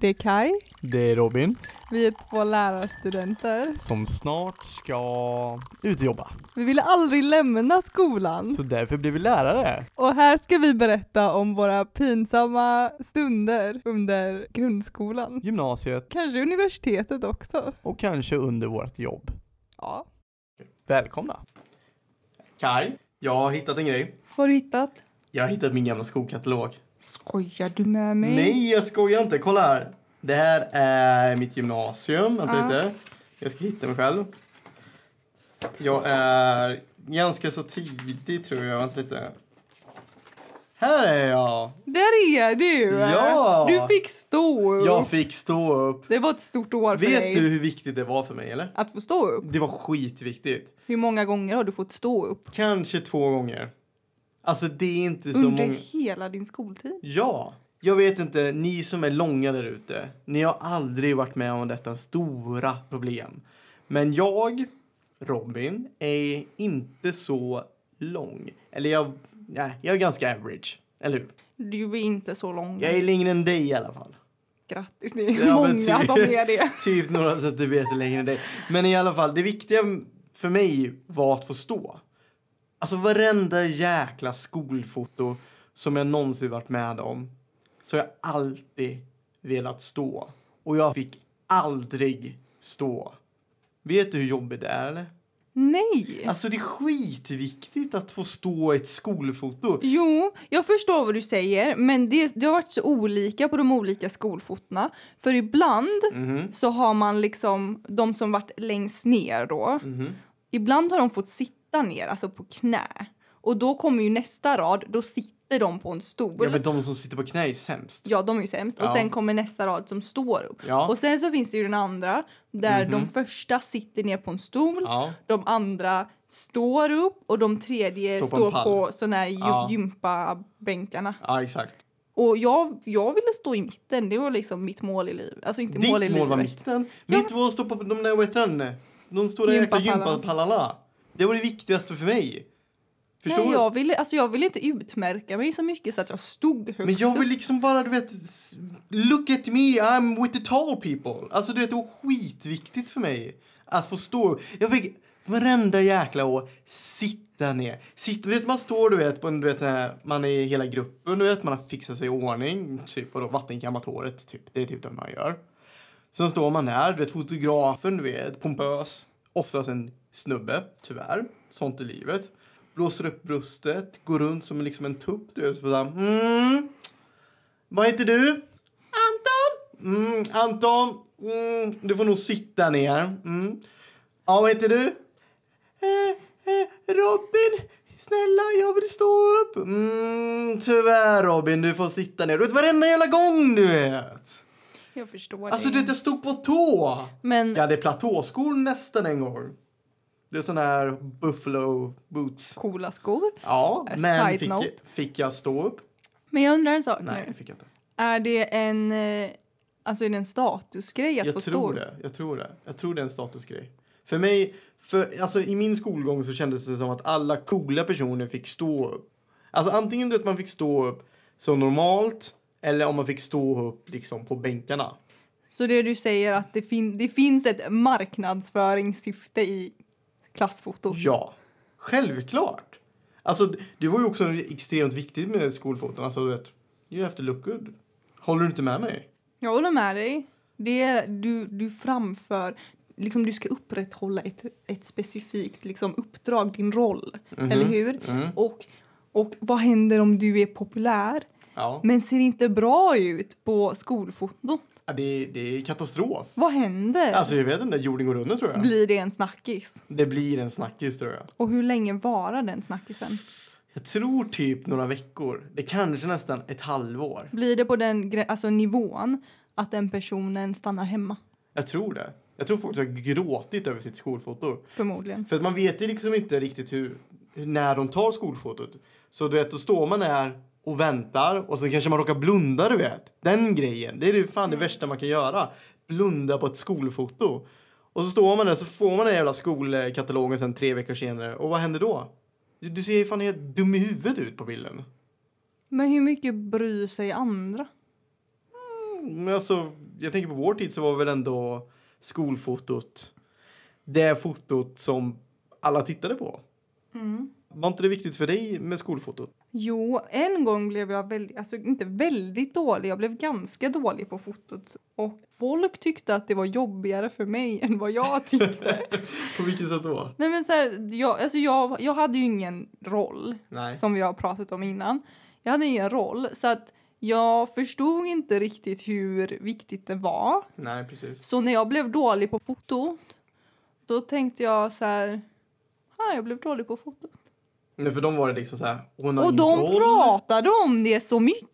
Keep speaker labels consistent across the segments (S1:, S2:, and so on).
S1: Det är Kai.
S2: Det är Robin
S1: Vi är två lärarstudenter.
S2: som snart ska ut och jobba.
S1: Vi ville aldrig lämna skolan.
S2: Så därför blir vi lärare.
S1: Och här ska vi berätta om våra pinsamma stunder under grundskolan.
S2: Gymnasiet
S1: Kanske universitetet också.
S2: och kanske under vårt jobb.
S1: Ja.
S2: Välkomna! Kai, jag har hittat en grej.
S1: Vad har du hittat?
S2: Jag har hittat min gamla skolkatalog.
S1: Skojar du med mig?
S2: Nej, jag skojar inte. Kolla här. Det här är mitt gymnasium. Vänta
S1: Ja.
S2: lite. Jag ska hitta mig själv. Jag är ganska så tidig tror jag. Vänta lite. Här är jag.
S1: Där är du!
S2: Ja!
S1: Du fick stå upp.
S2: Jag fick stå upp.
S1: Det var ett stort år för dig.
S2: Vet du hur viktigt det var för mig eller?
S1: Att få stå upp?
S2: Det var skitviktigt.
S1: Hur många gånger har du fått stå upp?
S2: Kanske två gånger. Alltså det är inte så
S1: Under
S2: många.
S1: hela din skoltid?
S2: Ja. Jag vet inte, ni som är långa där ute, ni har aldrig varit med om detta stora problem. Men jag, Robin, är inte så lång. Eller jag, nej, jag är ganska average. Eller hur?
S1: Du är inte så lång.
S2: Jag är längre än dig i alla fall.
S1: Grattis, ni är
S2: Ja, men
S1: många
S2: ty-
S1: som är det.
S2: Typ några centimeter längre än dig. Men i alla fall, det viktiga för mig var att få stå. Alltså varenda jäkla skolfoto som jag någonsin varit med om så har jag alltid velat stå. Och jag fick aldrig stå. Vet du hur jobbigt det är eller?
S1: Nej!
S2: Alltså det är skitviktigt att få stå i ett skolfoto.
S1: Jo, jag förstår vad du säger, men det, det har varit så olika på de olika skolfotona. För ibland
S2: Mhm.
S1: så har man liksom de som varit längst ner då.
S2: Mhm.
S1: Ibland har de fått sitta ner, alltså på knä. Och då kommer ju nästa rad, då sitter de på en stol.
S2: Ja men de som sitter på knä är sämst.
S1: Ja, de är ju sämst.
S2: Ja.
S1: Och sen kommer nästa rad som står upp.
S2: Ja. Mhm.
S1: Och sen så finns det ju den andra där de första sitter ner på en stol,
S2: Ja.
S1: de andra står upp och de tredje
S2: Står
S1: står
S2: på
S1: på,
S2: en pall.
S1: såna här gy-
S2: Ja.
S1: gympabänkarna.
S2: Ja exakt.
S1: Och jag, jag ville stå i mitten, det var liksom mitt mål i livet. Alltså inte mål i
S2: Ditt mål var
S1: livet.
S2: mitten. Mitt mål står på de där, vad heter den? De stora jäkla
S1: Gympapallarna.
S2: gympapallarna. Det var det viktigaste för mig. Förstår
S1: Nej,
S2: du?
S1: jag ville, alltså jag ville inte utmärka mig så mycket så att jag stod högst
S2: Men jag
S1: upp.
S2: vill liksom bara, du vet, s- look at me, I'm with the tall people. Alltså du vet, det var skitviktigt för mig att få stå. Jag fick varenda jäkla år sitta ner. Sitta, du vet, man står du vet, på en, du vet, när man är i hela gruppen, du vet, man har fixat sig i ordning, typ, och då vattenkammat håret, typ. Det är typ det man gör. Sen står man där, du vet, fotografen, du vet, pompös, oftast en snubbe, tyvärr, sånt i livet. Blåser upp bröstet, går runt som liksom en tupp, du vet, så bara, mm, vad heter du? Anton! Mm, Anton, mm, du får nog sitta ner. Mm. Ja, vad heter du? Eh, eh, Robin, snälla, jag vill stå upp. Mm, tyvärr Robin, du får sitta ner. Du vet varenda jävla gång du vet.
S1: Jag förstår
S2: Alltså
S1: dig.
S2: du vet, jag stod på tå.
S1: Men
S2: Jag hade platåskor nästan en gång. Det är sådana här buffalo boots.
S1: coola skor.
S2: Ja,
S1: A
S2: men
S1: side
S2: fick,
S1: note.
S2: fick jag stå upp?
S1: Men jag undrar en sak
S2: Nej,
S1: nu.
S2: det fick jag inte.
S1: Är det en, eh, alltså är det en statusgrej att få
S2: Jag
S1: stå
S2: tror
S1: upp?
S2: det. Jag tror det. Jag tror det är en statusgrej. För mig, för, alltså i min skolgång så kändes det som att alla coola personer fick stå upp. Alltså antingen du vet man fick stå upp som normalt eller om man fick stå upp liksom på bänkarna.
S1: Så det du säger att det, fin- det finns ett marknadsföringssyfte i klassfotot?
S2: Ja, självklart. Alltså det var ju också extremt viktigt med skolfoton. Alltså du vet, you have to look good. Håller du inte med mig?
S1: Jag håller med dig. Det är, du, du framför, liksom du ska upprätthålla ett, ett specifikt liksom, uppdrag, din roll. Eller hur?
S2: Mhm.
S1: Och, och vad händer om du är populär
S2: Ja.
S1: men ser inte bra ut på skolfotot?
S2: Ja, Det, det är katastrof.
S1: Vad händer?
S2: Alltså jag vet inte, jorden går under tror jag.
S1: Blir det en snackis?
S2: Det blir en snackis tror jag.
S1: Och hur länge varar den snackisen?
S2: Jag tror typ några veckor. Det kanske nästan ett halvår.
S1: Blir det på den grä- alltså, nivån att den personen stannar hemma?
S2: Jag tror det. Jag tror folk har gråtit över sitt skolfoto.
S1: Förmodligen.
S2: För att man vet ju liksom inte riktigt hur, hur när de tar skolfotot. Så du vet, då står man där och väntar och sen kanske man råkar blunda, du vet. Den grejen. Det är det fan det värsta man kan göra. Blunda på ett skolfoto. Och så står man där så får man den jävla skolkatalogen sen tre veckor senare. Och vad händer då? Du, du ser ju fan helt dum i huvudet ut på bilden.
S1: Men hur mycket bryr sig andra?
S2: Men alltså, jag tänker på vår tid så var väl ändå skolfotot det fotot som alla tittade på.
S1: Mm.
S2: Var inte det viktigt för dig med skolfotot?
S1: Jo, en gång blev jag väldigt, alltså inte väldigt dålig, jag blev ganska dålig på fotot. Och folk tyckte att det var jobbigare för mig än vad jag tyckte.
S2: På vilket sätt då?
S1: Nej men så här, jag, alltså jag, jag hade ju ingen roll.
S2: Nej.
S1: som vi har pratat om innan. Jag hade ingen roll, så att jag förstod inte riktigt hur viktigt det var.
S2: Nej, precis.
S1: Så när jag blev dålig på fotot, då tänkte jag så här... Ah, jag blev dålig på fotot.
S2: Nej, för dem var det liksom så här... Hon har
S1: Och
S2: ingen
S1: de
S2: roll.
S1: pratade om det så mycket.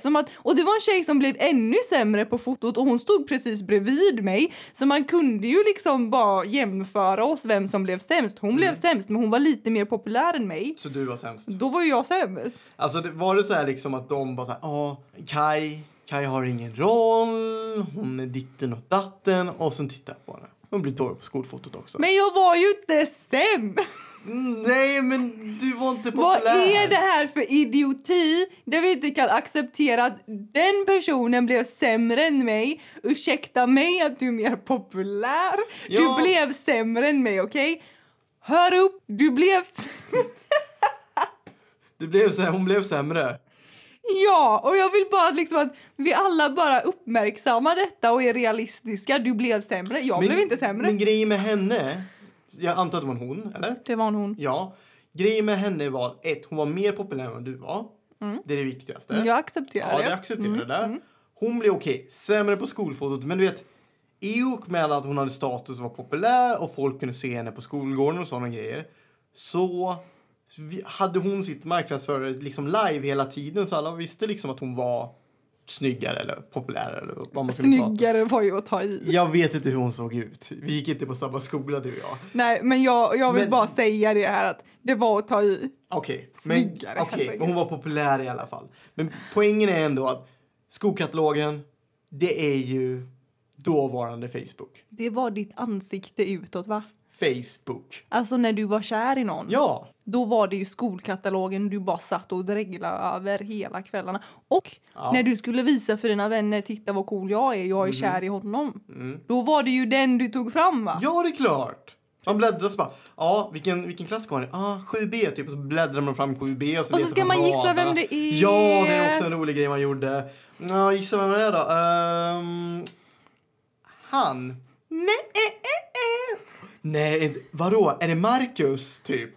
S1: Som att, och det var en tjej som blev ännu sämre på fotot och hon stod precis bredvid mig. Så man kunde ju liksom bara jämföra oss vem som blev sämst. Hon blev sämst men hon var lite mer populär än mig.
S2: Så du var sämst.
S1: Då var ju jag sämst.
S2: Alltså det, var det så här liksom att de bara så här, ja, Kai, Kai har ingen roll, hon är ditten och datten och sen tittar jag på henne. Hon blir dålig på skolfotot också.
S1: Men jag var ju inte sämst!
S2: Mm, Nej, men du var inte populär.
S1: Vad är det här för idioti där vi inte kan acceptera att den personen blev sämre än mig? Ursäkta mig att du är mer populär.
S2: Ja.
S1: Du blev sämre än mig, okej? Hör upp, du blev... s-
S2: Du blev så här, hon blev sämre.
S1: Ja, och jag vill bara liksom att vi alla bara uppmärksammar detta och är realistiska. Du blev sämre, jag blev inte sämre.
S2: Men grejen med henne, jag antar att det var en hon, eller?
S1: Det var en hon.
S2: Ja. Grejen med henne var att ett, hon var mer populär än vad du var. Det är det viktigaste.
S1: Jag accepterar
S2: Ja,
S1: Mm. det. Mm.
S2: det accepterar jag där. Hon blev okej, sämre på skolfotot, men du vet i och med att hon hade status och var populär och folk kunde se henne på skolgården och sådana grejer så vi- hade hon sitt marknadsförare liksom live hela tiden så alla visste liksom att hon var snyggare eller populär eller vad man skulle prata.
S1: Snyggare var ju att ta i.
S2: Jag vet inte hur hon såg ut. Vi gick inte på samma skola du och jag.
S1: Nej, men jag, jag vill
S2: Men-
S1: bara säga det här att det var att ta i.
S2: Okej, men,
S1: Snyggare,
S2: okej,
S1: herregud.
S2: men hon var populär i alla fall. Men poängen är ändå att skokatalogen, det är ju dåvarande Facebook.
S1: Det var ditt ansikte utåt, va?
S2: Facebook.
S1: Alltså när du var kär i någon,
S2: Ja,
S1: då var det ju skolkatalogen du bara satt och dreglade över hela kvällarna. Och
S2: Ja. Mhm.
S1: när du skulle visa för dina vänner, titta vad cool jag är, jag är kär i honom.
S2: Mm.
S1: Då var det ju den du tog fram va?
S2: ja det är klart. Man bläddrar så bara, ja, vilken, vilken klass går han i? Ah, 7B typ. Och så bläddrar man fram 7B. Och,
S1: Och så
S2: letar
S1: ska man gissa
S2: raderna.
S1: vem det är.
S2: Ja, det är också en rolig grej man gjorde. Ja, gissa vem det är då? Ehm, han.
S1: Nej, eh, eh, eh.
S2: Nej, inte- vadå? Är det Marcus typ?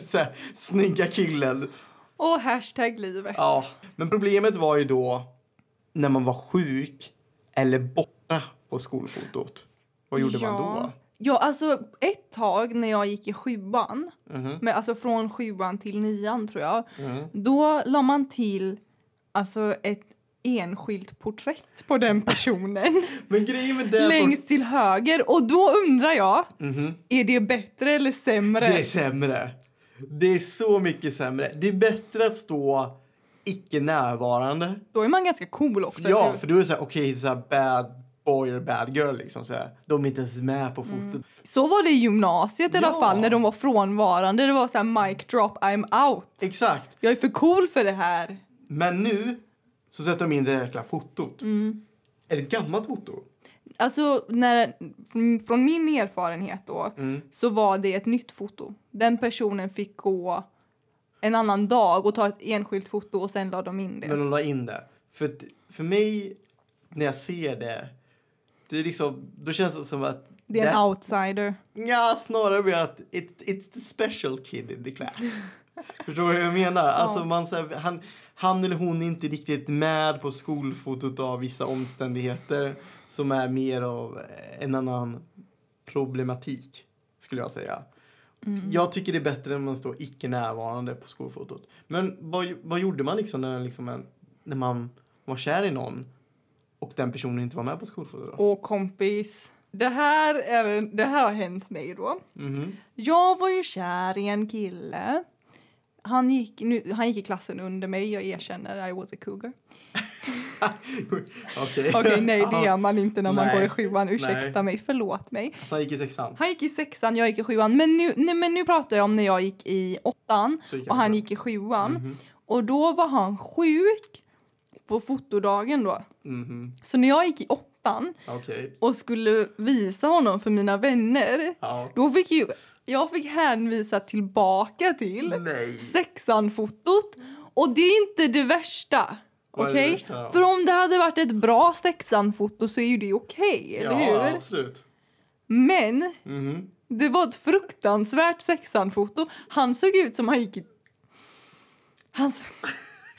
S2: så här, snygga killen.
S1: Och hashtag livet.
S2: Ja, men problemet var ju då när man var sjuk eller borta på skolfotot. Vad gjorde man då?
S1: Ja, alltså ett tag när jag gick i sjuan,
S2: Mhm.
S1: men alltså från sjuan till nian tror jag,
S2: Mm.
S1: då la man till alltså ett enskilt porträtt på den personen
S2: Men grejen med det...
S1: längst till höger och då undrar jag,
S2: Mhm.
S1: är det bättre eller sämre?
S2: Det är sämre. Det är så mycket sämre. Det är bättre att stå icke närvarande.
S1: Då är man ganska cool också.
S2: ja,
S1: eller
S2: för
S1: hur?
S2: då är det så här, okej, så här bad boy eller bad girl liksom så här. De är inte ens med på
S1: Mm.
S2: fotot.
S1: Så var det i gymnasiet i
S2: Ja.
S1: alla fall när de var frånvarande. Det var så här mic drop, I'm out.
S2: Exakt.
S1: Jag är för cool för det här.
S2: Men nu så sätter de in det jäkla fotot.
S1: Mm.
S2: Är det ett gammalt foto?
S1: Alltså, när, från- från min erfarenhet då,
S2: Mm.
S1: så var det ett nytt foto. Den personen fick gå en annan dag och ta ett enskilt foto och sen la de in det.
S2: Men de la in det. För, att- för mig, när jag ser det, det är liksom, då känns det som att...
S1: det är en outsider.
S2: Ja, snarare blir att it, it's the special kid in the class. Förstår du vad jag menar? Alltså man, så här, han, han eller hon är inte riktigt med på skolfotot av vissa omständigheter som är mer av eh, en annan problematik, skulle jag säga.
S1: Mm.
S2: Jag tycker det är bättre när man står icke närvarande på skolfotot. Men vad, vad gjorde man liksom när, liksom en, när man var kär i någon och den personen inte var med på skolfotot? Då?
S1: Och kompis, det här, är, det här har hänt mig då.
S2: Mhm.
S1: Jag var ju kär i en kille. Han gick, nu, han gick i klassen under mig, jag erkänner, I was a cougar.
S2: Okej.
S1: Okej, nej det
S2: Ja.
S1: är man inte när man
S2: Nej.
S1: går i sjuan, ursäkta
S2: Nej.
S1: mig, förlåt mig.
S2: Så Alltså, han gick i sexan.
S1: Han gick i sexan, jag gick i sjuan, men nu, nej, men nu pratar jag om när jag gick i åttan
S2: Så gick
S1: och
S2: i
S1: han
S2: sjuan.
S1: gick i sjuan.
S2: Mhm.
S1: Och då var han sjuk på fotodagen då.
S2: Mhm.
S1: Så när jag gick i åttan
S2: Okej.
S1: och skulle visa honom för mina vänner,
S2: Ja.
S1: då fick ju, jag fick hänvisa tillbaka till
S2: Nej.
S1: sexan-fotot. Och det är inte det värsta.
S2: Vad är det
S1: Okej?
S2: värsta då?
S1: För om det hade varit ett bra sexan-foto så är ju det okej, eller
S2: Ja,
S1: hur?
S2: absolut.
S1: Men
S2: Mhm.
S1: det var ett fruktansvärt sexan-foto. Han såg ut som han gick i... Han såg...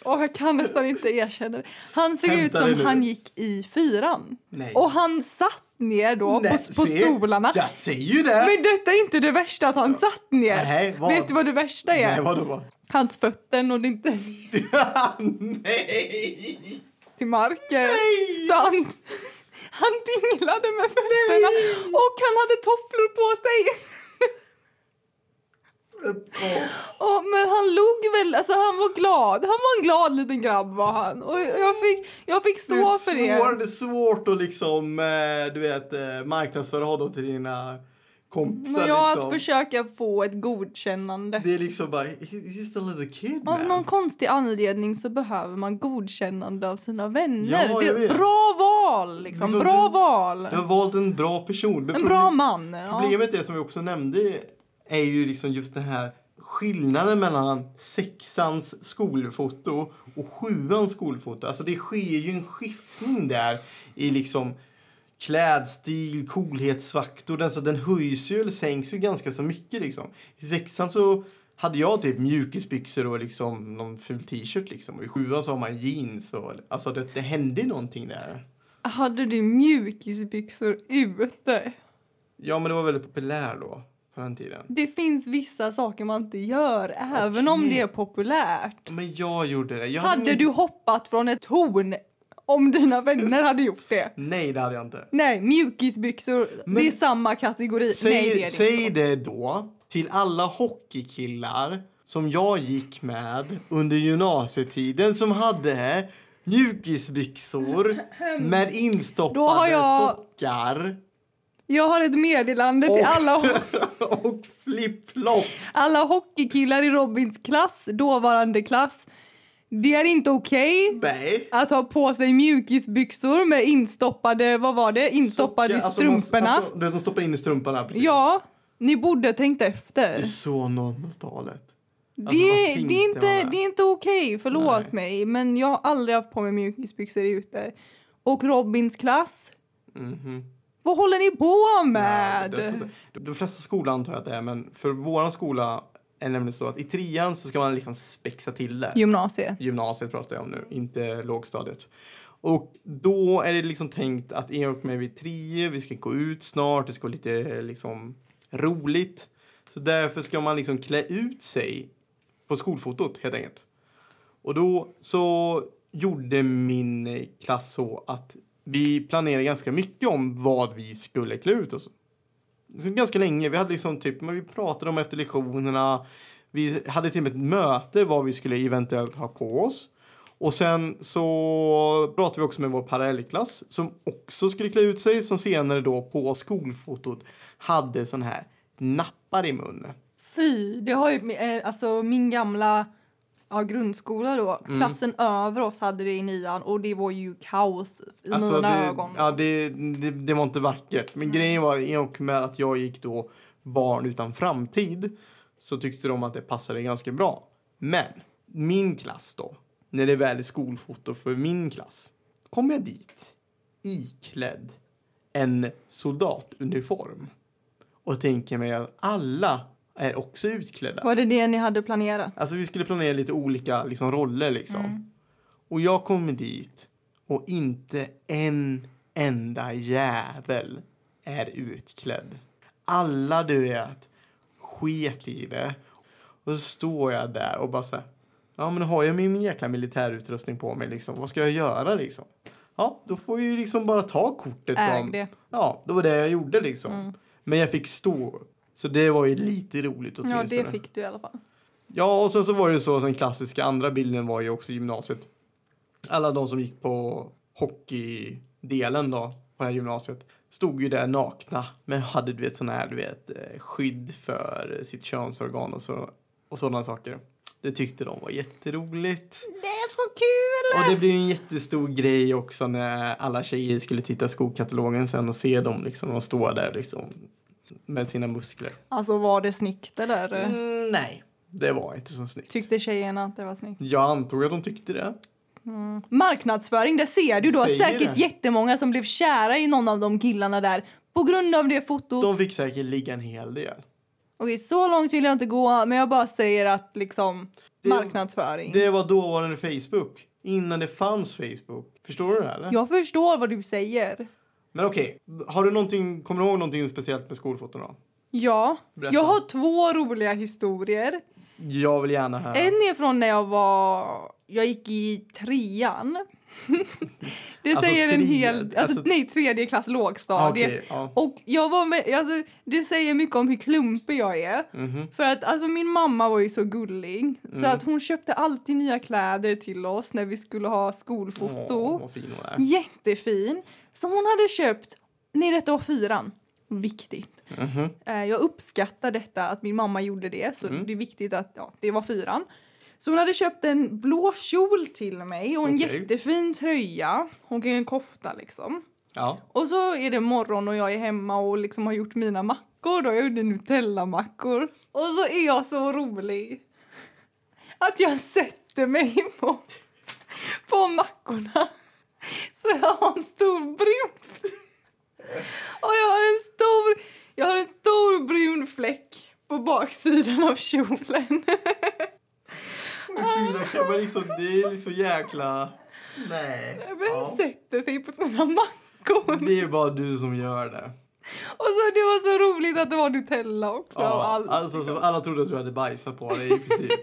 S1: Åh, jag kan nästan inte erkänna det. Han såg
S2: Hämta
S1: ut
S2: dig
S1: som
S2: nu.
S1: han gick i fyran.
S2: Nej.
S1: Och han satt ner då
S2: Nej,
S1: på, på
S2: se.
S1: stolarna.
S2: Jag säger ju det!
S1: Men detta är inte det värsta, att han satt ner.
S2: Nej, vad-
S1: Vet du vad det värsta är?
S2: Nej, vadå? vad?
S1: Hans fötter nådde inte
S2: Nej!
S1: till marken.
S2: Nej!
S1: Så han, han dinglade med fötterna och han hade tofflor på sig. Ja, men han log väl, alltså han var glad. Han var en glad liten grabb var han. Och jag fick, jag fick
S2: Det
S1: stå
S2: är,
S1: för
S2: svår,
S1: det.
S2: det är svårt att liksom, eh, du vet, eh, marknadsföra honom till dina kompisar.
S1: Men jag
S2: liksom.
S1: att försöka få ett godkännande.
S2: Det är liksom bara, "He- he's just a little kid
S1: Av
S2: man.
S1: någon konstig anledning så behöver man godkännande av sina vänner.
S2: Ja,
S1: det
S2: jag
S1: är
S2: vet.
S1: bra val liksom,
S2: Liksom,
S1: bra
S2: du-
S1: val.
S2: Jag har valt en bra person. Men
S1: En
S2: proble-
S1: bra man. Ja.
S2: Problemet är, som vi också nämnde, är ju liksom just den här skillnaden mellan sexans skolfoto och sjuans skolfoto. Alltså det sker ju en skiftning där i liksom klädstil, coolhetsfaktor. Alltså den höjs ju eller sänks ju ganska så mycket liksom. I sexan så hade jag typ mjukisbyxor och liksom någon ful t-shirt liksom. Och i sjuan så har man jeans och alltså det, det hände ju någonting där.
S1: Hade du mjukisbyxor ute?
S2: Ja men det var väldigt populär då på den tiden.
S1: Det finns vissa saker man inte gör, även om
S2: Okej.
S1: det är populärt.
S2: Men jag gjorde det. Jag
S1: Hade du hoppat från ett torn om dina vänner hade gjort det?
S2: Nej, det hade jag inte.
S1: Nej, mjukisbyxor, det är
S2: Men-
S1: samma kategori.
S2: Säg,
S1: Nej, det är det.
S2: säg det då till alla hockeykillar som jag gick med under gymnasietiden som hade mjukisbyxor med instoppade
S1: Då har jag-
S2: sockar
S1: Jag har ett meddelande till
S2: Och-
S1: alla, ho-
S2: och flip-flop.
S1: alla hockeykillar i Robins klass, dåvarande klass. Det är inte okej
S2: Nej.
S1: att ha på sig mjukisbyxor med instoppade, vad var det, instoppade
S2: Sockar, alltså, man-
S1: strumporna.
S2: Alltså, du vet, de stoppar in i strumporna. Precis.
S1: ja, ni borde tänkt
S2: Det är
S1: efter.
S2: så 90-talet.
S1: Det,
S2: Alltså, vad
S1: det, är
S2: tänkte
S1: inte,
S2: man där?
S1: det är inte okej, förlåt
S2: Nej.
S1: mig. Men jag har aldrig haft på mig mjukisbyxor ute. Och Robins klass,
S2: Mhm.
S1: vad håller ni på
S2: Ja,
S1: med?
S2: det- det är så att- de- De flesta skolor antar jag att det är, men för vår skola är det nämligen så att i trean så ska man liksom spexa till det.
S1: Gymnasiet.
S2: Gymnasiet pratar jag om nu, inte lågstadiet. Och då är det liksom tänkt att i och med vi är trio, vi ska gå ut snart, det ska vara lite eh, liksom roligt. Så därför ska man liksom klä ut sig på skolfotot helt enkelt. Och då så gjorde min eh, klass så att vi planerade ganska mycket om vad vi skulle klä ut oss. Så Ganska länge. Vi hade liksom typ, men vi pratade om efter lektionerna. Vi hade till och med ett möte vad vi skulle eventuellt ha på oss. Och sen så pratade vi också med vår parallellklass som också skulle klä ut sig som senare då på skolfotot hade sån här nappar i munnen.
S1: Fy, det har ju eh, alltså min gamla ja, grundskola då.
S2: Mm.
S1: Klassen över oss hade det i nian och det var ju kaos i mina
S2: Alltså, det,
S1: ögon. Mm.
S2: Ja, det, det, det var inte vackert. Men grejen var i och med att jag gick då barn utan framtid så tyckte de att det passade ganska bra. Men min klass då, när det väl är skolfoto för min klass, kom jag dit iklädd en soldatuniform och tänker mig att alla är också utklädda.
S1: Var det det ni hade planerat?
S2: Alltså vi skulle planera lite olika liksom, roller liksom.
S1: Mm.
S2: Och jag kommer dit och inte en enda jävel är utklädd. Alla du vet sket i det. Och så står jag där och bara så här. Ja men har jag min jäkla militärutrustning på mig liksom. Vad ska jag göra liksom? Ja då får jag ju liksom bara ta kortet. på
S1: Äg
S2: dem.
S1: Äh, det. Mm.
S2: Ja det var det jag gjorde liksom. Men jag fick stå. Så det var ju lite roligt
S1: Ja,
S2: åtminstone.
S1: det fick du i alla fall.
S2: Ja, och sen så var det så, den klassiska andra bilden var ju också gymnasiet. Alla de som gick på hockeydelen då, på det här gymnasiet, stod ju där nakna, men hade du vet sån här, du vet, eh, skydd för sitt könsorgan och, så, och sådana saker. Det tyckte de var jätteroligt.
S1: Det är så kul!
S2: Och det blev ju en jättestor grej också när alla tjejer skulle titta skokatalogen sen och se dem liksom, de står där liksom med sina muskler.
S1: Alltså var det snyggt eller?
S2: Mm, nej, det var inte så snyggt.
S1: Tyckte tjejerna att det var snyggt?
S2: Jag antog att de tyckte det.
S1: Marknadsföring, där ser du då
S2: Säger
S1: säkert
S2: det.
S1: jättemånga som blev kära i någon av de killarna där på grund av det fotot.
S2: De fick säkert ligga en hel del.
S1: Okej, så långt vill jag inte gå, men jag bara säger att liksom
S2: Det-
S1: marknadsföring.
S2: Det var dåvarande Facebook, innan det fanns Facebook. Förstår du det här, eller?
S1: Jag förstår vad du säger.
S2: Men okej, har du någonting, kommer du ihåg någonting speciellt med skolfoton då?
S1: Ja,
S2: Berätta.
S1: jag har två roliga historier.
S2: Jag vill gärna höra.
S1: En är från när jag var, jag gick i trean. det
S2: Alltså,
S1: säger en
S2: tre-
S1: hel, alltså,
S2: alltså-
S1: nej tredje klass
S2: ah,
S1: lågstadie.
S2: okej, ja.
S1: Och jag var med, alltså, det säger mycket om hur klumpig jag är.
S2: Mhm.
S1: För att alltså, min mamma var ju så gullig så
S2: Mm.
S1: att hon köpte alltid nya kläder till oss när vi skulle ha skolfoto.
S2: Åh, vad fin hon är.
S1: Jättefin. Som hon hade köpt, nej detta var fyran. Viktigt.
S2: Mhm.
S1: Eh, jag uppskattar detta att min mamma gjorde det så
S2: Mm.
S1: det är viktigt att, ja det var fyran. Så hon hade köpt en blå kjol till mig och en
S2: Okej.
S1: jättefin tröja och en kofta liksom.
S2: Ja.
S1: Och så är det morgon och jag är hemma och liksom har gjort mina mackor. Då. Jag gjorde Nutella-mackor. Och så är jag så rolig att jag sätter mig på, på mackorna. Så jag har en stor brun... Och jag har en stor, jag har en stor brun fläck på baksidan av kjolen. Ah,
S2: Fyra kan man liksom, det är liksom jäkla... Nej.
S1: Vem
S2: Ja.
S1: sätter sig på sina mackor?
S2: Det är bara du som gör det.
S1: Och så, det var så roligt att det var Nutella också. av
S2: Ja,
S1: allt.
S2: alltså, så alla trodde att du hade bajsat på dig i princip.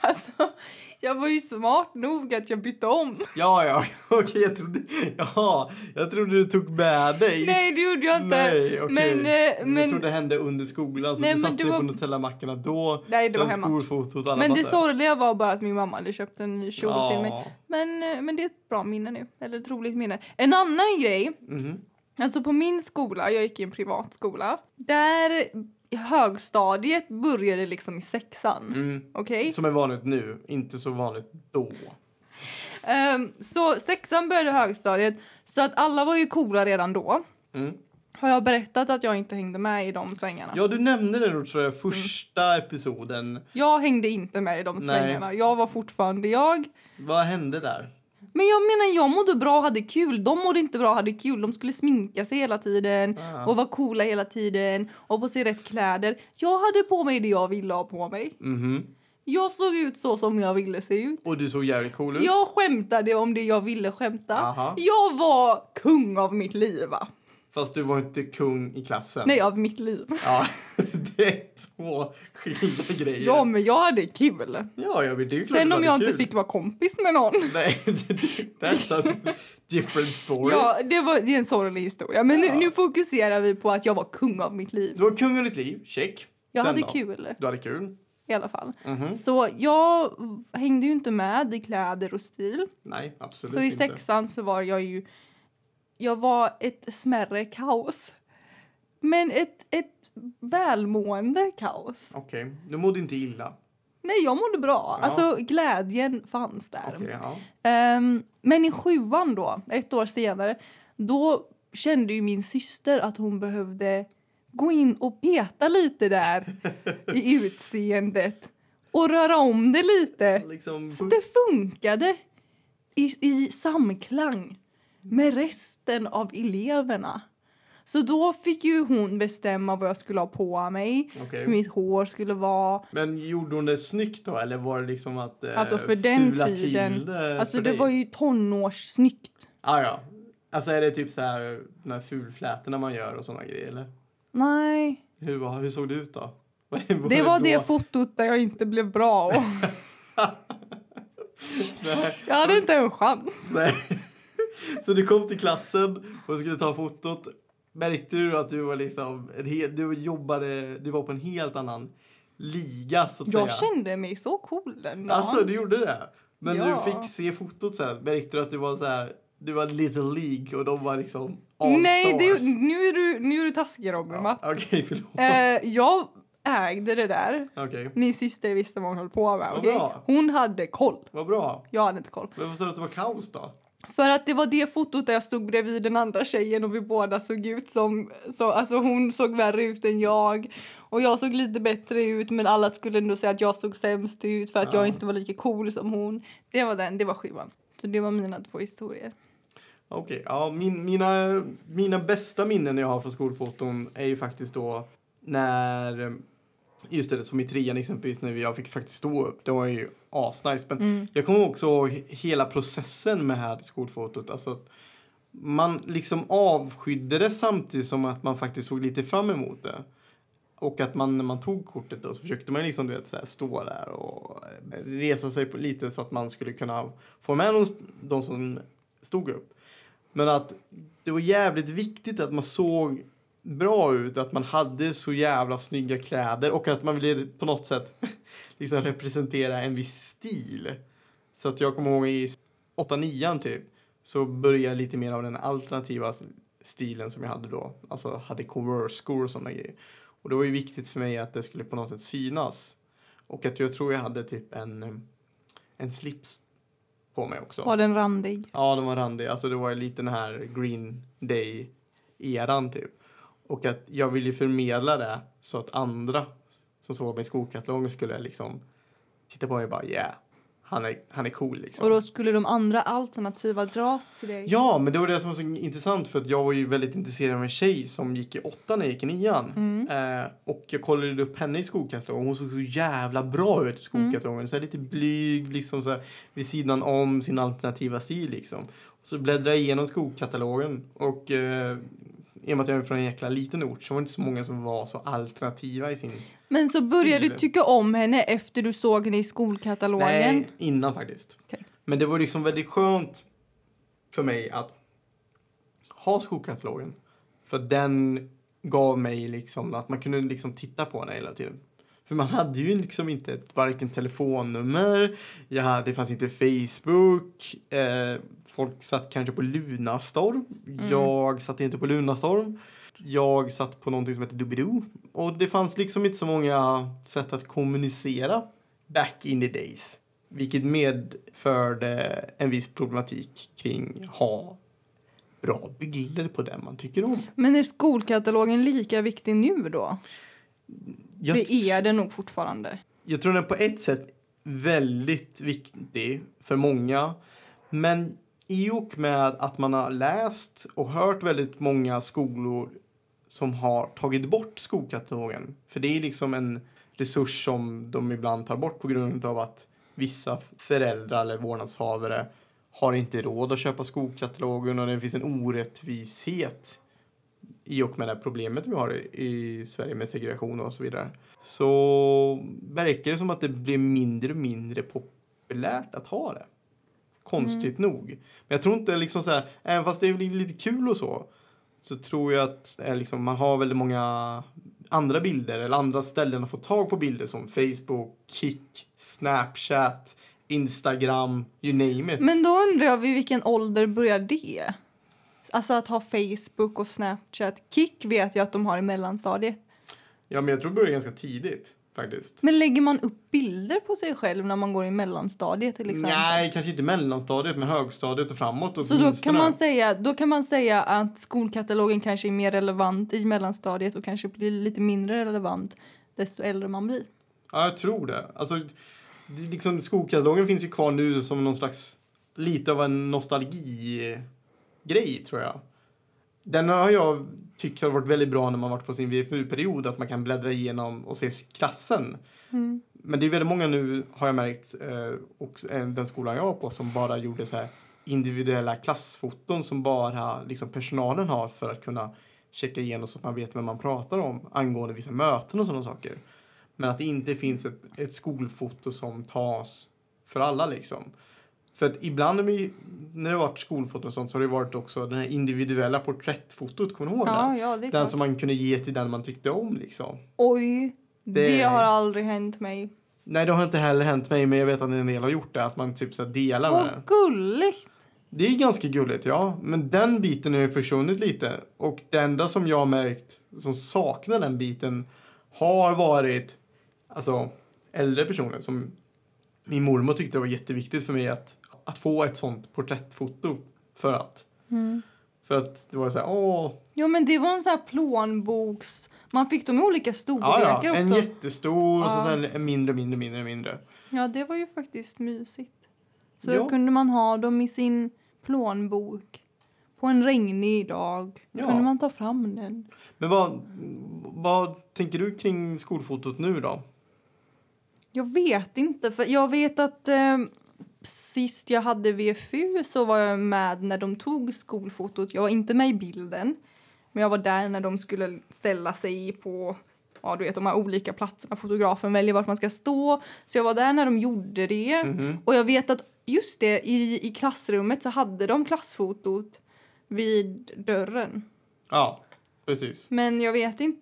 S1: Alltså, jag var ju smart nog att jag bytte om.
S2: Ja, ja, okej, jag trodde... Ja, jag trodde du tog med dig.
S1: Nej, det gjorde jag inte.
S2: Nej, okej.
S1: Men, eh,
S2: jag
S1: men,
S2: trodde det hände under skolan, så
S1: Nej,
S2: du
S1: men
S2: satte
S1: det
S2: dig
S1: var-
S2: på Nutella-mackorna då.
S1: Nej, det
S2: sen
S1: var hemma.
S2: skolfotot alla
S1: men det
S2: bara så här,
S1: sorgliga var bara att min mamma hade köpt en ny kjol till mig.
S2: ja.
S1: Men, eh, men det är ett bra minne nu. Eller ett roligt minne. En annan grej.
S2: Mhm.
S1: Alltså på min skola, jag gick i en privatskola. Där högstadiet började liksom i sexan.
S2: Mm.
S1: Okej?
S2: Som är vanligt nu, inte så vanligt då.
S1: Ehm, så sexan började högstadiet. Så att alla var ju coola redan då.
S2: Mm.
S1: Har jag berättat att jag inte hängde med i de svängarna?
S2: Ja, du nämnde det nog, tror
S1: Mm.
S2: jag, första episoden.
S1: Jag hängde inte med i de svängarna. Jag var fortfarande jag.
S2: Vad hände där?
S1: Men jag menar, jag mådde bra och hade kul. De mådde inte bra och hade kul. De skulle sminka sig hela tiden
S2: Ah.
S1: och vara coola hela tiden och på sig rätt kläder. Jag hade på mig det jag ville ha på mig.
S2: Mhm.
S1: Jag såg ut så som jag ville se ut.
S2: Och du såg jävligt cool ut.
S1: Jag skämtade om det jag ville skämta.
S2: Aha.
S1: Jag var kung av mitt liv, va?
S2: Fast du var inte kung i klassen.
S1: Nej, av mitt liv.
S2: Ja, det är två skilda grejer.
S1: Ja, men jag hade kul.
S2: ja jag vet, det är ju klart
S1: Sen
S2: det
S1: om
S2: var
S1: jag
S2: kul.
S1: inte fick vara kompis med någon
S2: Nej, det- det- that's a different story.
S1: Ja, det, var, det är en sorglig historia. Men nu,
S2: Ja.
S1: nu fokuserar vi på att jag var kung av mitt liv.
S2: Du var kung av ditt liv, check.
S1: Jag
S2: Sen
S1: hade
S2: då?
S1: kul
S2: Du hade kul?
S1: i alla fall.
S2: Mhm.
S1: Så jag hängde ju inte med i kläder och stil.
S2: Nej, absolut
S1: Så i
S2: inte.
S1: sexan så var jag ju... Jag var ett smärre kaos. Men ett, ett välmående kaos.
S2: Okej, du mådde inte illa.
S1: Nej, jag mådde bra.
S2: Ja.
S1: Alltså glädjen fanns där.
S2: Okej, ja.
S1: Ehm, men i sjuan då, ett år senare, då kände ju min syster att hon behövde gå in och peta lite där i utseendet och röra om det lite.
S2: Liksom,
S1: Så det funkade i, i samklang med resten av eleverna. Så då fick ju hon bestämma vad jag skulle ha på mig,
S2: Okej.
S1: hur mitt hår skulle vara,
S2: Men gjorde hon det snyggt då eller var det liksom att eh,
S1: Alltså för den
S2: fula till
S1: tiden.
S2: det
S1: Alltså
S2: för
S1: det
S2: dig?
S1: var ju tonårssnyggt.
S2: Ah, ja. Alltså är det typ så här de här fulflätorna man gör och såna grejer eller?
S1: Nej,
S2: Hur, var- hur såg det ut då? Var det,
S1: Det var
S2: då-
S1: det fotot där jag inte blev bra. Och
S2: Nej,
S1: jag hade inte en chans.
S2: nej. Så du kom till klassen och skulle ta fotot. Märkte du att du var liksom, en hel, du jobbade, du var på en helt annan liga så att
S1: Jag
S2: säga.
S1: kände mig så cool den dagen.
S2: Alltså du gjorde det? Men när
S1: Ja.
S2: du fick se fotot sen märkte du att du var så här, du var Little League och de var liksom all
S1: Nej, det,
S2: stars.
S1: nu, är du, nu är du taskig Robin va?
S2: Ja, Okej, förlåt.
S1: Eh, jag ägde det där.
S2: Okej,
S1: Min syster visste vad hon höll på med.
S2: Vad
S1: okej?
S2: bra.
S1: Hon hade koll.
S2: vad bra.
S1: Jag hade inte koll.
S2: Varför sa du att det var kaos då?
S1: För att det var det fotot där jag stod bredvid den andra tjejen och vi båda såg ut som... Så, alltså hon såg värre ut än jag och jag såg lite bättre ut men alla skulle ändå säga att jag såg sämst ut för att
S2: Ja.
S1: jag inte var lika cool som hon. Det var den, det var skivan. Så det var mina två historier.
S2: Okej, ja, min, mina, mina bästa minnen jag har från skolfoton är ju faktiskt då när, eh, just det, som i trean exempelvis, när jag fick faktiskt stå upp. Det var ju asnice. Men jag kommer också ihåg hela processen med här skolfotot. Alltså, att man liksom avskydde det samtidigt som att man faktiskt såg lite fram emot det. Och att man när man tog kortet då så försökte man liksom du vet så här, stå där och resa sig på lite så att man skulle kunna få med de, de som stod upp. Men att det var jävligt viktigt att man såg bra ut, att man hade så jävla snygga kläder och att man ville på något sätt liksom representera en viss stil. Så att jag kommer ihåg i 8-9 typ så började lite mer av den alternativa stilen som jag hade då. Alltså hade Converse-skor och sådana grejer. Och det var ju viktigt för mig att det skulle på något sätt synas. Och att jag tror jag hade typ en, en slips på mig också.
S1: Var den randig?
S2: Ja, de var randiga. Alltså det var ju lite den här Green Day-eran typ. Och att jag ville ju förmedla det så att andra som såg mig i skolkatalogen skulle liksom titta på mig och bara yeah, han är, han är cool liksom.
S1: Och då skulle de andra alternativa dras till dig?
S2: Ja, men det var det som var så intressant för att jag var ju väldigt intresserad av en tjej som gick i åttan när jag gick i nian.
S1: Mm.
S2: Eh, och jag kollade upp henne i skolkatalogen. Hon såg så jävla bra ut i skolkatalogen. Så här lite blyg, liksom så här, vid sidan om sin alternativa stil liksom. Och så bläddrade jag igenom skolkatalogen och eh, i och med att jag är från en jäkla liten ort så var det inte så många som var så alternativa i sin...
S1: Men så började
S2: Stil.
S1: du tycka om henne efter du såg henne i skolkatalogen?
S2: Nej, innan faktiskt.
S1: Okej.
S2: Men det var liksom väldigt skönt för mig att ha skokatalogen. För den gav mig liksom att man kunde liksom titta på den hela tiden. För man hade ju liksom inte ett, varken telefonnummer, jag hade, det fanns inte Facebook, eh, folk satt kanske på Lunarstorm,
S1: Mm.
S2: jag satt inte på Lunarstorm. Jag satt på någonting som hette Doobidoo. Och det fanns liksom inte så många sätt att kommunicera back in the days. Vilket medförde en viss problematik kring ha bra bilder på den man tycker om.
S1: Men är skolkatalogen lika viktig nu då?
S2: Jag,
S1: Det är den nog fortfarande.
S2: jag tror den är på ett sätt väldigt viktig för många. Men i och med att man har läst och hört väldigt många skolor som har tagit bort skolkatalogen. För det är liksom en resurs som de ibland tar bort på grund av att vissa föräldrar eller vårdnadshavare har inte råd att köpa skolkatalogen och det finns en orättvishet i och med det här problemet vi har i- i Sverige med segregation och så vidare. Så verkar det som att det blir mindre och mindre populärt att ha det. Konstigt nog. Men jag tror inte liksom så här, även fast det är lite kul och så, så tror jag att eh, liksom, man har väldigt många andra bilder eller andra ställen att få tag på bilder som Facebook, Kik, Snapchat, Instagram, you name it.
S1: Men då undrar jag vid vilken ålder börjar det? Alltså att ha Facebook och Snapchat. Kik vet jag att de har i mellanstadiet.
S2: Ja, men jag tror det började ganska tidigt faktiskt.
S1: Men lägger man upp bilder på sig själv när man går i mellanstadiet till exempel?
S2: Nej, kanske inte mellanstadiet, men högstadiet och framåt
S1: Så då kan,
S2: åtminstone.
S1: man säga, då kan man säga att skolkatalogen kanske är mer relevant i mellanstadiet och kanske blir lite mindre relevant desto äldre man blir.
S2: Ja, jag tror det. Alltså, det är liksom, skokatalogen finns ju kvar nu som någon slags, lite av en nostalgi-grej tror jag. Den har jag tyckt har varit väldigt bra när man varit på sin VFU-period, att man kan bläddra igenom och se klassen. Men det är väldigt många nu, har jag märkt, eh, och eh, den skolan jag var på, som bara gjorde så här individuella klassfoton som bara liksom, personalen har för att kunna checka igenom så att man vet vem man pratar om angående vissa möten och sådana saker. Men att det inte finns ett, ett skolfoto som tas för alla liksom. För att ibland när vi- när det har varit skolfoton och sånt så har det varit också det här individuella porträttfotot, kommer du ihåg
S1: Ja,
S2: den?
S1: ja, det är
S2: Den
S1: klart.
S2: som man kunde ge till den man tyckte om liksom.
S1: Oj, Det, har aldrig hänt mig.
S2: Nej, det har inte heller hänt mig, men jag vet att en del har gjort det. Att man typ så här delar med
S1: Vad
S2: den.
S1: gulligt!
S2: Det är ganska gulligt, ja. Men den biten har ju försvunnit lite. Och det enda som jag har märkt som saknar den biten har varit alltså, äldre personer. Som min mormor tyckte det var jätteviktigt för mig att, att få ett sånt porträttfoto. För att, för att det var så här, åh,
S1: Jo men det var en sån här plånboks... Man fick dem i olika storlekar
S2: ja, ja, en
S1: också.
S2: jättestor och så
S1: Ja.
S2: sen en mindre, mindre, mindre, mindre.
S1: Ja det var ju faktiskt mysigt. Så
S2: Ja.
S1: kunde man ha dem i sin plånbok. På en regnig dag
S2: Ja.
S1: kunde man ta fram den.
S2: Men vad, vad tänker du kring skolfotot nu då?
S1: Jag vet inte för jag vet att eh, sist jag hade VFU så var jag med när de tog skolfotot. Jag var inte med i bilden. Men jag var där när de skulle ställa sig på ja, du vet, de här olika platserna. Fotografen väljer vart man ska stå. Så jag var där när de gjorde det.
S2: Mhm.
S1: Och jag vet att just det, i, i klassrummet så hade de klassfotot vid dörren.
S2: Ja, precis.
S1: Men jag vet inte.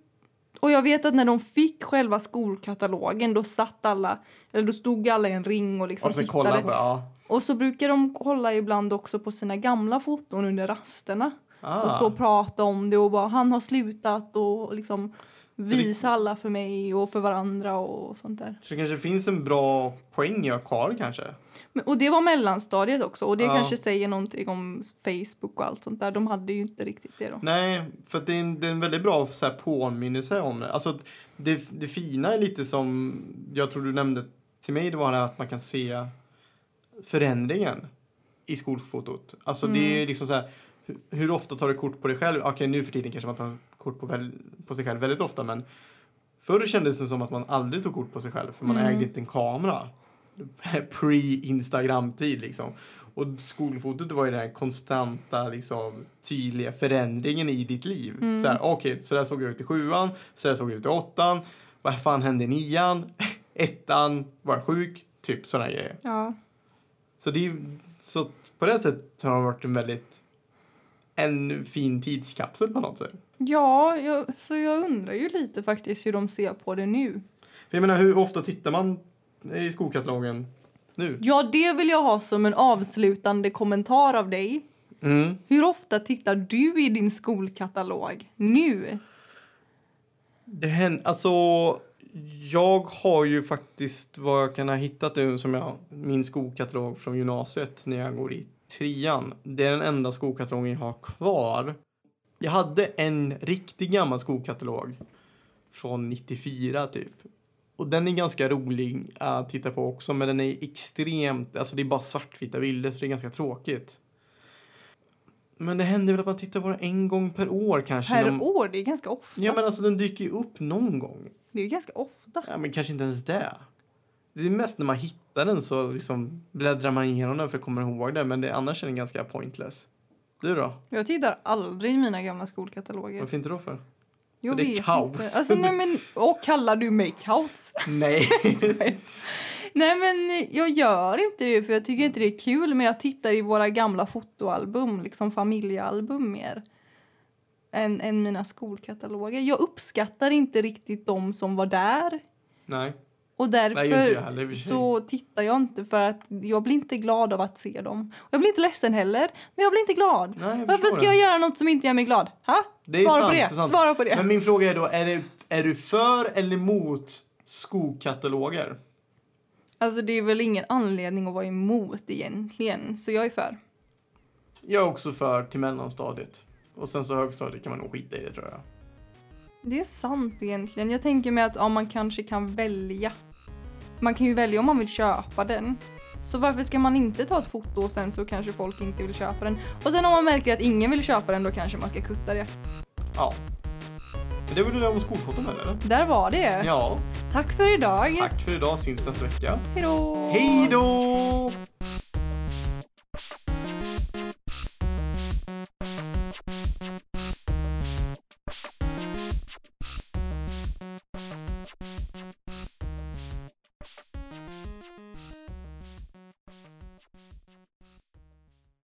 S1: Och jag vet att när de fick själva skolkatalogen då satt alla, eller då stod alla i en ring och liksom
S2: Och sen kolla
S1: tittade.
S2: på, ja.
S1: Och så brukar de kolla ibland också på sina gamla foton under rasterna.
S2: Ah.
S1: Och stå och prata om det och bara han har slutat och liksom
S2: det-
S1: visa alla för mig och för varandra och sånt där.
S2: Så det kanske finns en bra poäng jag kvar kanske?
S1: Men, och det var mellanstadiet också och det
S2: Ja.
S1: kanske säger någonting om Facebook och allt sånt där. De hade ju inte riktigt det då.
S2: Nej, för att det är en, det är en väldigt bra så här, påminnelse om det. Alltså, det. Det fina är lite som jag tror du nämnde till mig, det var det här att man kan se förändringen i skolfotot. Alltså det är liksom så här, hur, hur ofta tar du kort på dig själv? Okej, nu för tiden kanske man tar kort på, väl, på sig själv väldigt ofta, men förr kändes det som att man aldrig tog kort på sig själv, för man ägde inte en kamera. Pre-Instagram-tid liksom. Och skolfotot var ju den här konstanta, liksom, tydliga förändringen i ditt liv. Så här, okej, så där såg jag ut i sjuan, så där såg jag ut i åttan, vad fan hände i nian, ettan, var jag sjuk, typ sådana grejer.
S1: Ja.
S2: Så, det är, ju- så att på det sättet har det varit en väldigt en fin tidskapsel på något sätt.
S1: Ja, jag, så jag undrar ju lite faktiskt hur de ser på det nu.
S2: För jag menar, hur ofta tittar man i skolkatalogen nu?
S1: Ja, det vill jag ha som en avslutande kommentar av dig.
S2: Mm.
S1: Hur ofta tittar du i din skolkatalog nu?
S2: Det händer, alltså, jag har ju faktiskt vad jag kan ha hittat nu som jag, min skokatalog från gymnasiet när jag går i trean. Det är den enda skokatalogen jag har kvar. Jag hade en riktigt gammal skokatalog från 94 typ. Och den är ganska rolig att titta på också men den är extremt, alltså det är bara svartvita bilder så det är ganska tråkigt. Men det händer väl att man tittar på den en gång per år kanske. när
S1: Per
S2: man-
S1: år, det är ganska ofta.
S2: Ja men alltså den dyker ju upp någon gång.
S1: Det är ju ganska ofta.
S2: Ja men kanske inte ens det. Det är mest när man hittar den så liksom bläddrar man igenom den för att komma ihåg den men det, annars är den ganska pointless. Du då?
S1: Jag tittar aldrig i mina gamla skolkataloger.
S2: Varför inte då för?
S1: Jag
S2: det är
S1: vet
S2: kaos.
S1: Inte. Alltså, nej, men, och kallar du mig kaos?
S2: Nej.
S1: Nej men jag gör inte det för jag tycker inte det är kul men jag tittar i våra gamla fotoalbum, liksom familjealbum mer. Än, än mina skolkataloger. Jag uppskattar inte riktigt de som var där.
S2: Nej.
S1: Och
S2: Nej, inte jag
S1: därför
S2: heller i och för sig.
S1: så tittar jag inte för att jag blir inte glad av att se dem. Och jag blir inte ledsen heller, men jag blir inte glad.
S2: Nej, jag
S1: Varför
S2: förstår
S1: ska
S2: det.
S1: jag göra något som inte gör mig glad? Ha?
S2: Det är
S1: Svara
S2: sant,
S1: på
S2: det
S1: det,
S2: är sant.
S1: svara på det.
S2: Men min fråga är då, är, det, är du för eller emot skokataloger?
S1: Alltså det är väl ingen anledning att vara emot egentligen, så jag är för.
S2: Jag är också för till mellanstadiet. Och sen så högstadiet kan man nog skita i det tror jag.
S1: Det är sant egentligen. Jag tänker mig att ja, man kanske kan välja. Man kan ju välja om man vill köpa den. Så varför ska man inte ta ett foto och sen så kanske folk inte vill köpa den? Och sen om man märker att ingen vill köpa den då kanske man ska kutta det.
S2: Ja. Men det var det där om skolfoton eller?
S1: Där var det.
S2: Ja.
S1: Tack för idag.
S2: Tack för idag, syns nästa vecka.
S1: Hej då.
S2: Hej då!